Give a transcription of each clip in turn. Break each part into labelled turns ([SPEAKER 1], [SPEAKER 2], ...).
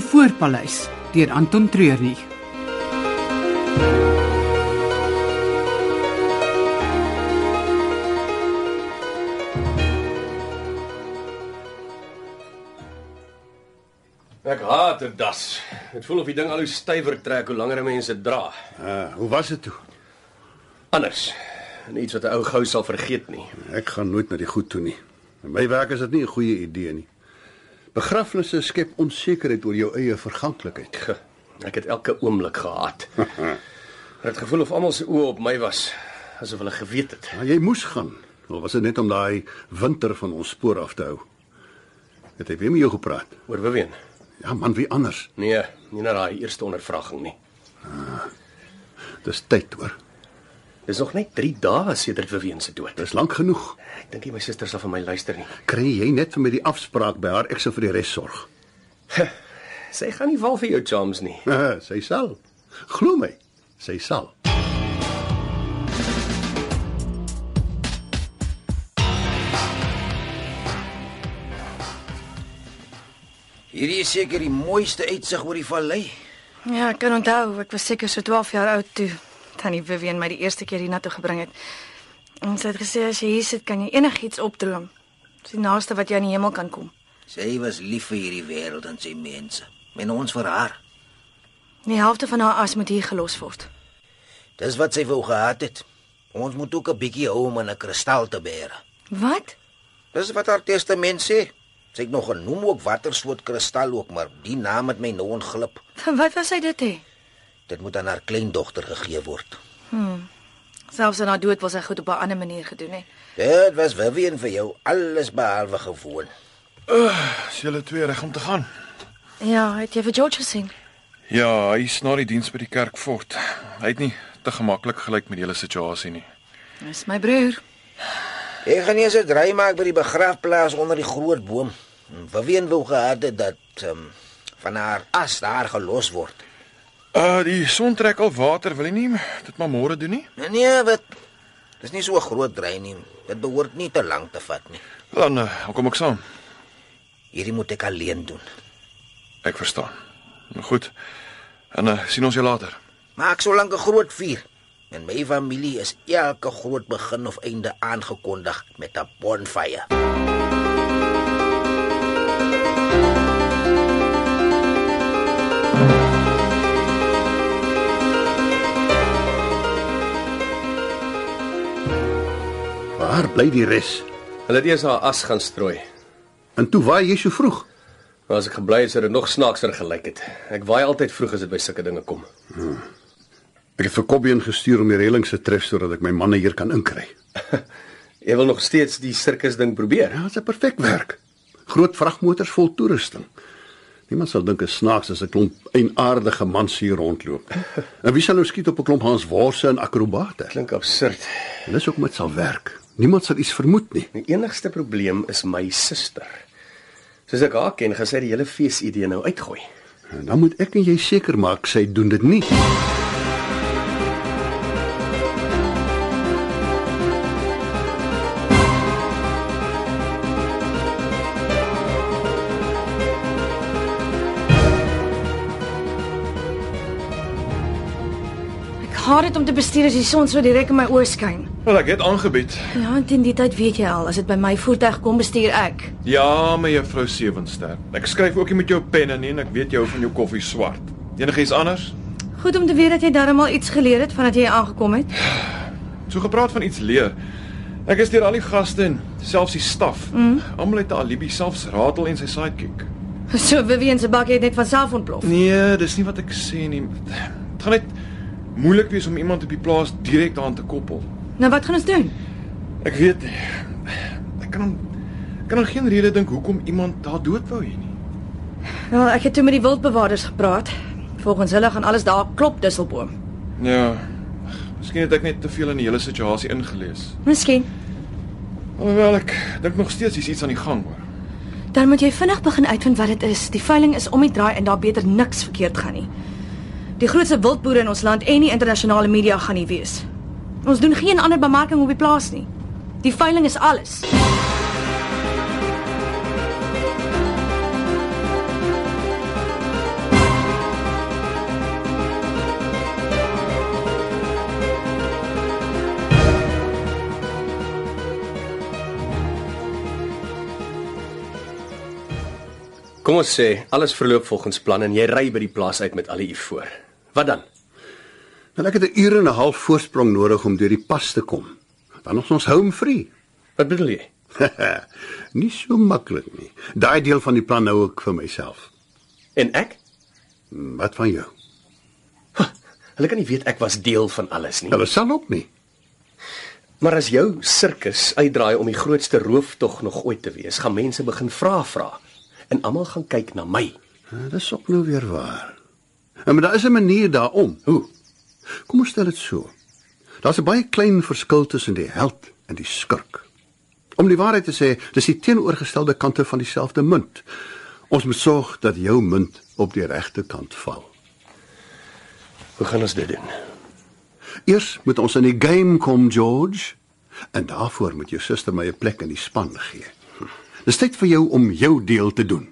[SPEAKER 1] Spoorpaleis deur Anton Treurnig.
[SPEAKER 2] Ek haat 'n das. Dit voel of die ding al hoe stywer trek hoe langer mense dra.
[SPEAKER 3] Uh, hoe was dit toe?
[SPEAKER 2] Anders. En iets wat 'n ou gou sal vergeet nie.
[SPEAKER 3] Ek gaan nooit na die goed toe nie. In my werk is dit nie 'n goeie idee nie. Begrafnisse skep onsekerheid oor jou eie verganklikheid.
[SPEAKER 2] Ge, Ek het elke oomblik gehaat. Dit gevoel of almal se oë op my was, asof hulle geweet het.
[SPEAKER 3] Maar jy moes gaan. Of was dit net om daai winter van ons spoor af te hou? Het hy weer met jou gepraat?
[SPEAKER 2] Oor Vivian.
[SPEAKER 3] Ja man, wie anders?
[SPEAKER 2] Nee, nie na daai eerste ondervraging nie.
[SPEAKER 3] Dis tyd hoor.
[SPEAKER 2] Dis nog net 3 dae sedert Vivian se dood.
[SPEAKER 3] Dis lank genoeg.
[SPEAKER 2] Ek dink nie my suster sal vir my luister nie.
[SPEAKER 3] Kry jy net vir my die afspraak by haar ek sal vir die res sorg.
[SPEAKER 2] Sy gaan nie val vir jou charms nie.
[SPEAKER 3] sy sal. Glo my, sy sal.
[SPEAKER 4] Hierdie is seker die mooiste uitsig oor die vallei.
[SPEAKER 5] Ja, ek kan onthou, ek was seker so 12 jaar oud toe tannie Vivian my die eerste keer hiernatoe gebring het. En sy het gesê as jy hier sit, kan jy enigiets opdroom. Dis die naaste wat jy aan die hemel kan kom.
[SPEAKER 4] Sy was lief vir hierdie wêreld en sy mense. En ons vir haar.
[SPEAKER 5] Die helfte van haar as moet hier gelos word.
[SPEAKER 4] Dis wat sy wou gehad het. Ons moet ook 'n bietjie hou om in 'n kristal te bære.
[SPEAKER 5] Wat?
[SPEAKER 4] Dis wat haar testament sê. Sy het nog genoem ook watter soort kristal ook, maar die naam het my nou ontglip.
[SPEAKER 5] Van wat was sy dit hè?
[SPEAKER 4] Dit moet aan haar kleindogter gegee word.
[SPEAKER 5] Selfs aan haar dood was sy goed op 'n ander manier gedoen hè.
[SPEAKER 4] Dit was Vivian vir jou alles behalwe gewoon.
[SPEAKER 6] Is julle twee reg om te gaan?
[SPEAKER 5] Ja, het jy vir George gesien?
[SPEAKER 6] Ja, hy is na die diens by die kerk voort. Hy het nie te gemaklik gelyk met die hele situasie nie.
[SPEAKER 5] Dis my broer.
[SPEAKER 4] Ek gaan eers 'n draai maak by die begrafplaas onder die groot boom. Vivian wou gehad het dat um, van haar as daar gelos word.
[SPEAKER 6] Uh die son trek al water, wil jy nie dit maar môre doen nie?
[SPEAKER 4] Nee, Nee, wat? Dis nie so 'n groot drein nie. Dit behoort nie te lank te vat nie.
[SPEAKER 6] Dan uh, dan kom ek saam.
[SPEAKER 4] Hierdie moet ek alleen doen.
[SPEAKER 6] Ek verstaan. Nou Goed. En uh, sien ons jou later.
[SPEAKER 4] Maak so lank 'n groot vuur. In my familie is elke groot begin of einde aangekondig met 'n bonfire.
[SPEAKER 3] Waar bly die res?
[SPEAKER 2] Hulle het eers haar as gaan strooi.
[SPEAKER 3] En toe waar jy so vroeg?
[SPEAKER 2] Maar as ek gebly het, sou dit nog snaakser gelyk het. Ek waai altyd vroeg as dit by sulke dinge kom.
[SPEAKER 3] Ek het vir Kobbie ingestuur om die reëling se tref sodat ek my manne hier kan inkry.
[SPEAKER 2] Jy wil nog steeds die sirkus ding probeer.
[SPEAKER 3] Ja, dit is perfek werk. Groot vragmotors vol toerusting. Niemand sal dink dit is snaaks as 'n klomp eienaardige mans hier rondloop. En wie sal nou skiet op 'n klomp Hans Worse en akrobate?
[SPEAKER 2] Klink absurd.
[SPEAKER 3] En dis hoekom dit sal werk. Niemand sal iets vermoed nie.
[SPEAKER 2] Die enigste probleem is my suster. Soos ek haar ken, gaan sy die hele feesidee nou uitgooi.
[SPEAKER 3] En dan moet ek en jy seker maak sy doen dit nie.
[SPEAKER 5] Ek haat dit om te bestuur as die son so direk in my oë skyn.
[SPEAKER 6] Wel, ek het aangebied.
[SPEAKER 5] Ja, en teen die tyd weet jy al, as dit by my voertuig kom bestuur ek.
[SPEAKER 6] Ja, my juffrou Sewenster. Ek skryf ook nie met jou penne nie en ek weet jy hou van jou koffie swart. Enigiets anders?
[SPEAKER 5] Goed om te weet dat jy darmal iets geleer het vandat jy aangekom het.
[SPEAKER 6] So gepraat van iets leer. Ek is deur al die gaste en selfs die staf. Mm. Almal het 'n alibi, selfs Ratel en sy sidekick.
[SPEAKER 5] So Vivian se bakkie het net van self ontplof.
[SPEAKER 6] Nee, dis nie wat ek sê nie. Dit gaan net moeilik wees om iemand op die plaas direk daaraan te koppel.
[SPEAKER 5] Nou wat gaan ons doen?
[SPEAKER 6] Ek weet nie. Ek kan hom ek kan aan geen rede dink hoekom iemand daar dood wou hê nie.
[SPEAKER 5] Wel, ek het toe met die wildbewaarders gepraat. Volgens hulle gaan alles daar klop Disselboom.
[SPEAKER 6] Ja. Miskien het ek net te veel in die hele situasie ingelees.
[SPEAKER 5] Miskien.
[SPEAKER 6] Alhoewel ek dink nog steeds hier's iets aan die gang hoor.
[SPEAKER 5] Dan moet jy vinnig begin uitvind wat dit is. Die veiling is om die draai en daar beter niks verkeerd gaan nie. Die grootste wildboere in ons land en die internasionale media gaan nie wees. Ons doen geen ander bemarking op die plaas nie. Die veiling is alles.
[SPEAKER 2] Kom ons sê alles verloop volgens plan en jy ry by die plaas uit met al die eef voor. Wat dan?
[SPEAKER 3] Dan ek het 'n uur en 'n half voorsprong nodig om deur die pas te kom. Dan is ons home free.
[SPEAKER 2] Wat bedoel jy?
[SPEAKER 3] nie so maklik nie. Daai deel van die plan nou ek vir myself.
[SPEAKER 2] En ek?
[SPEAKER 3] Wat van jou?
[SPEAKER 2] Hulle kan nie weet ek was deel van alles nie.
[SPEAKER 3] Hulle sal ook nie.
[SPEAKER 2] Maar as jou sirkus uitdraai om die grootste rooftog nog ooit te wees, gaan mense begin vra vra en almal gaan kyk na my.
[SPEAKER 3] Ja, Dis ook nou weer waar. En maar daar is 'n manier daarom. Hoe? Kom ons stel dit so. Daar's 'n baie klein verskil tussen die held en die skurk. Om die waarheid te sê, dis die teenoorgestelde kante van dieselfde munt. Ons moet sorg dat jou munt op die regte kant val.
[SPEAKER 2] Hoe gaan ons dit doen?
[SPEAKER 3] Eers moet ons in die game kom, George. En daarvoor moet jou suster my 'n plek in die span gee. Dis tyd vir jou om jou deel te doen.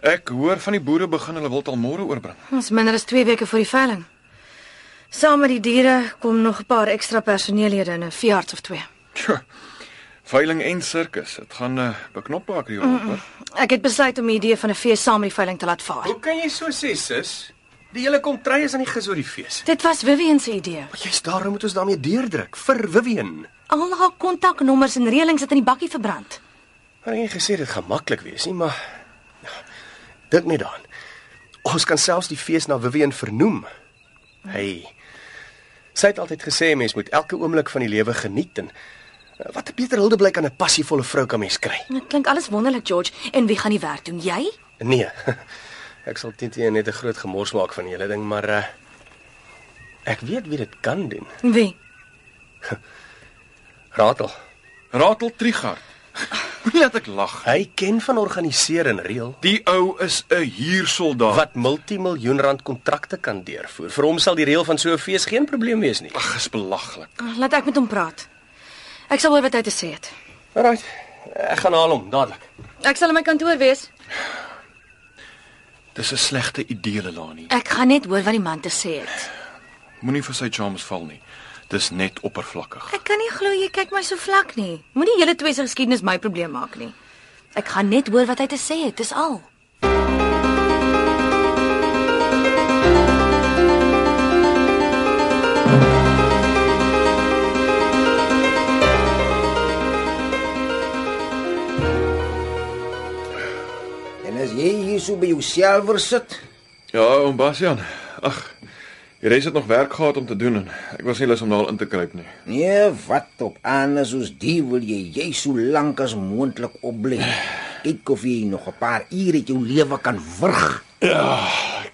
[SPEAKER 6] Ek hoor van die boere begin hulle wild al môre oorbring.
[SPEAKER 5] Ons minder as 2 weke voor die veiling. Saam met die diere kom nog 'n paar ekstra personeellede in 'n veearts of twee.
[SPEAKER 6] Tjoh, Veiling en sirkus. Dit gaan uh, beknop raak hier hoor. hoor.
[SPEAKER 5] Ek het besluit om die idee van 'n fees saam met die veiling te laat vaar.
[SPEAKER 2] Hoe kan jy so sê, sis? Die hele kontry is aan die gis oor die fees.
[SPEAKER 5] Dit was Vivian se idee.
[SPEAKER 2] Maar jy's daarom moet ons daarmee deurdruk vir Vivian.
[SPEAKER 5] Al haar kontaknommers en reëlings het in die bakkie verbrand.
[SPEAKER 2] Maar jy het gesê dit gaan maklik wees, nie, maar ja, dink net daaraan. Ons kan selfs die fees na Vivian vernoem. Hey. Sy het altyd gesê mens moet elke oomblik van die lewe geniet en eh, wat 'n beter huldeblyk aan 'n passievolle vrou kan mens kry.
[SPEAKER 5] Dit klink alles wonderlik, George. En wie gaan die werk doen? Jy?
[SPEAKER 2] Nee. Ek sal teen teen net 'n groot gemors maak van die hele ding, maar uh, ek weet wie dit kan doen.
[SPEAKER 5] Wie?
[SPEAKER 2] Ratel.
[SPEAKER 6] Ratel Trigard. Moenie laat ek lag.
[SPEAKER 2] Hy ken van organiseer en reël.
[SPEAKER 6] Die ou is 'n huursoldaat.
[SPEAKER 2] wat multimiljoen rand kontrakte kan deurvoer. Vir hom sal die reël van so 'n fees geen probleem wees nie.
[SPEAKER 6] Ag, is belaglik.
[SPEAKER 5] Laat ek met hom praat. Ek sal hoor wat hy te sê het.
[SPEAKER 2] Alraai. Ek gaan haal hom dadelik.
[SPEAKER 5] Ek sal in my kantoor wees.
[SPEAKER 6] Dis 'n slegte idee, Lelani.
[SPEAKER 5] Ek gaan net hoor wat die man te sê het.
[SPEAKER 6] Moenie vir sy charms val nie. Dis net oppervlakkig.
[SPEAKER 5] Ek kan nie glo jy kyk my so vlak nie. Moenie julle twee se geskiedenis my probleem maak nie. Ek gaan net hoor wat hy te sê het, dis al.
[SPEAKER 4] En as jy hier so by jouself sit,
[SPEAKER 6] Ja, oom Bastian. Ag, die res het nog werk gehad om te doen en ek was nie lus om daal in te kruip nie.
[SPEAKER 4] nee, wat op aan is ons die wil jy jy so lank as moontlik opbly. Kyk of jy nog 'n paar ure uit jou lewe kan wurg.
[SPEAKER 6] Ja,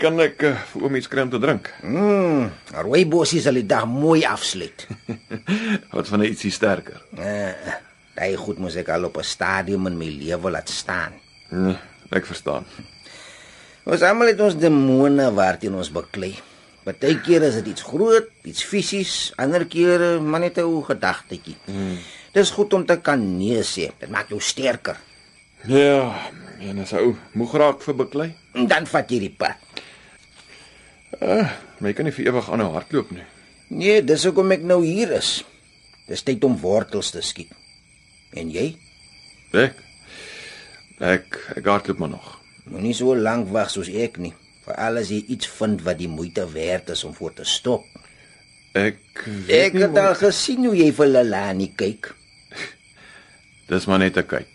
[SPEAKER 6] Kan ek eh, vir oom iets kry om te drink?
[SPEAKER 4] Mm, rooi bossies sal die dag mooi afsluit.
[SPEAKER 6] Wat van 'n ietsie sterker?
[SPEAKER 4] Eh, Daai goed moet ek al op 'n stadium in my lewe laat staan.
[SPEAKER 6] Nee, ek verstaan.
[SPEAKER 4] Ons almal het ons demone waarteen ons beklei. Partykeer is dit iets groot, iets fisies, ander kere maar net 'n ou gedagtetjie. Mm. Dis goed om te kan nee sê. Dit maak jou sterker.
[SPEAKER 6] Ja, en as ou moeg raak vir beklei.
[SPEAKER 4] En dan vat jy die pad.
[SPEAKER 6] Maar jy kan nie vir ewig aanhou hardloop nie.
[SPEAKER 4] Nee, dis hoekom ek nou hier is. Dis tyd om wortels te skiet. En jy?
[SPEAKER 6] Ek ek ek hardloop maar nog.
[SPEAKER 4] Moenie so lank wag soos ek nie. Veral as jy iets vind wat die moeite werd is om voor te stop.
[SPEAKER 6] Ek weet
[SPEAKER 4] Ek
[SPEAKER 6] nie
[SPEAKER 4] het
[SPEAKER 6] hoe-
[SPEAKER 4] al gesien hoe jy vir Lelani kyk.
[SPEAKER 6] Dis maar net 'n kyk.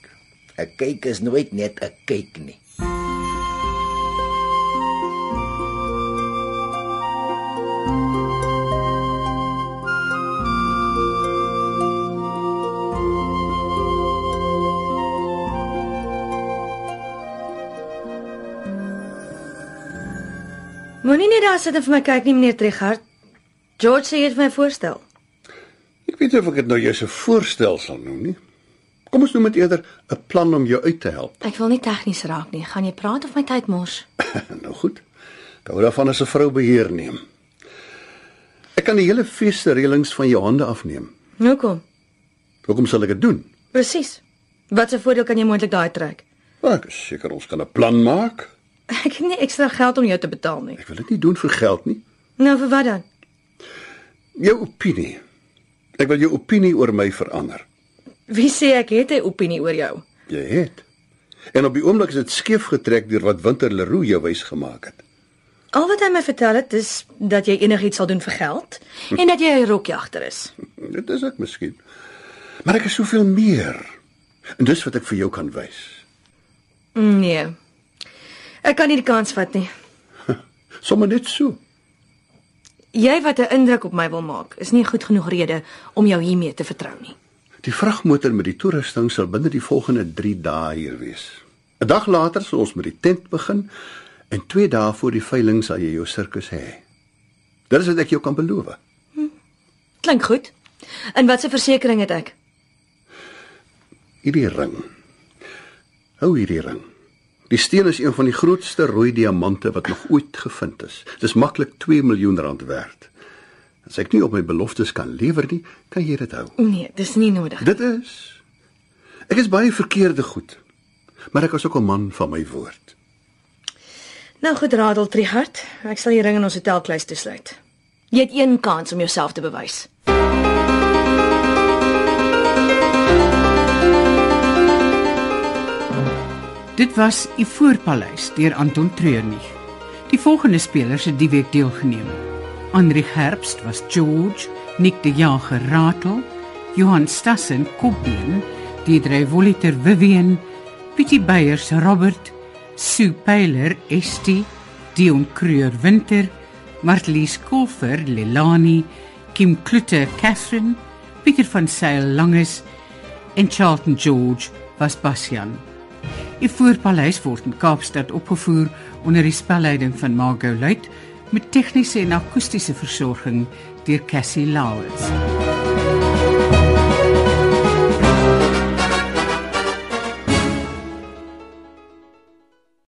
[SPEAKER 4] 'n Kyk is nooit net 'n kyk nie.
[SPEAKER 5] Moenie net daar sit en vir my kyk nie, meneer Trigard. George sê jy het vir my voorstel.
[SPEAKER 3] Ek weet nie of ek dit nou jous 'n voorstel sal noem nie. Kom ons noem dit eerder 'n plan om jou uit te help.
[SPEAKER 5] Ek wil nie tegnies raak nie. Gaan jy praat of my tyd mors?
[SPEAKER 3] nou goed. Ek hou daarvan as 'n vrou beheer neem. Ek kan die hele feeste reëlings van jou hande afneem.
[SPEAKER 5] Hoekom?
[SPEAKER 3] Hoekom sal ek dit doen?
[SPEAKER 5] Presies. Wat 'n voordeel kan jy moontlik daai trek?
[SPEAKER 3] Maar ek is seker ons kan 'n plan maak.
[SPEAKER 5] Ek het nie ekstra geld om jou te betaal nie.
[SPEAKER 3] Ek wil dit nie doen vir geld nie.
[SPEAKER 5] Nou vir wat dan?
[SPEAKER 3] Jou opinie. Ek wil jou opinie oor my verander.
[SPEAKER 5] Wie sê ek het 'n opinie oor jou?
[SPEAKER 3] Jy het. En op die oomblik is dit skeef getrek deur wat Winter Leroux jou wys gemaak het.
[SPEAKER 5] Al wat hy my vertel het is dat jy enigiets sal doen vir geld en dat jy 'n rokjagter is.
[SPEAKER 3] Dit is ek miskien. Maar ek is soveel meer. En dis wat ek vir jou kan wys.
[SPEAKER 5] Nee. Ek kan nie die kans vat nie.
[SPEAKER 3] Sommige net so.
[SPEAKER 5] Jy wat 'n indruk op my wil maak, is nie goed genoeg rede om jou hiermee te vertrou nie.
[SPEAKER 3] Die vragmotor met die toerusting sal binne die volgende 3 dae hier wees. 'n Dag later sal ons met die tent begin en 2 dae voor die veiling sal jy jou sirkus hê. Dit is wat ek jou kan beloof.
[SPEAKER 5] Klink goed. En watse versekering het ek?
[SPEAKER 3] Hierdie ring. Hou hierdie ring. Die steen is een van die grootste rooi diamante wat nog ooit gevind is. Dis maklik 2 miljoen rand werd. As ek nie op my beloftes kan lewer nie, kan jy dit hou.
[SPEAKER 5] Nee, dis nie nodig.
[SPEAKER 3] Dit is Ek is baie verkeerde goed. Maar ek is ook 'n man van my woord.
[SPEAKER 5] Nou goed, Radel Trihard, ek sal die ring in ons hotelkluis toesluit. Jy het een kans om jouself te bewys.
[SPEAKER 1] Dit was Ivoorpaleis deur Anton Treurnig. Die volgende spelers het die week deelgeneem. Andri Herbst was George, Nick de Jager Ratel, Johan Stassen Kopien, Deidre Voliter Vivian, Pietie Beyers Robert, Sue Pyler Estie, Dion Kreur Winter, Martlies Kolfer Lelani, Kim Klutter Catherine, Pieter van Sail Langes en Charlton George was Bastian. Die voorpaleis word in Kaapstad opgevoer onder die spelleiding van Margot Luit met tegniese en akoestiese versorging deur Cassie Lauers.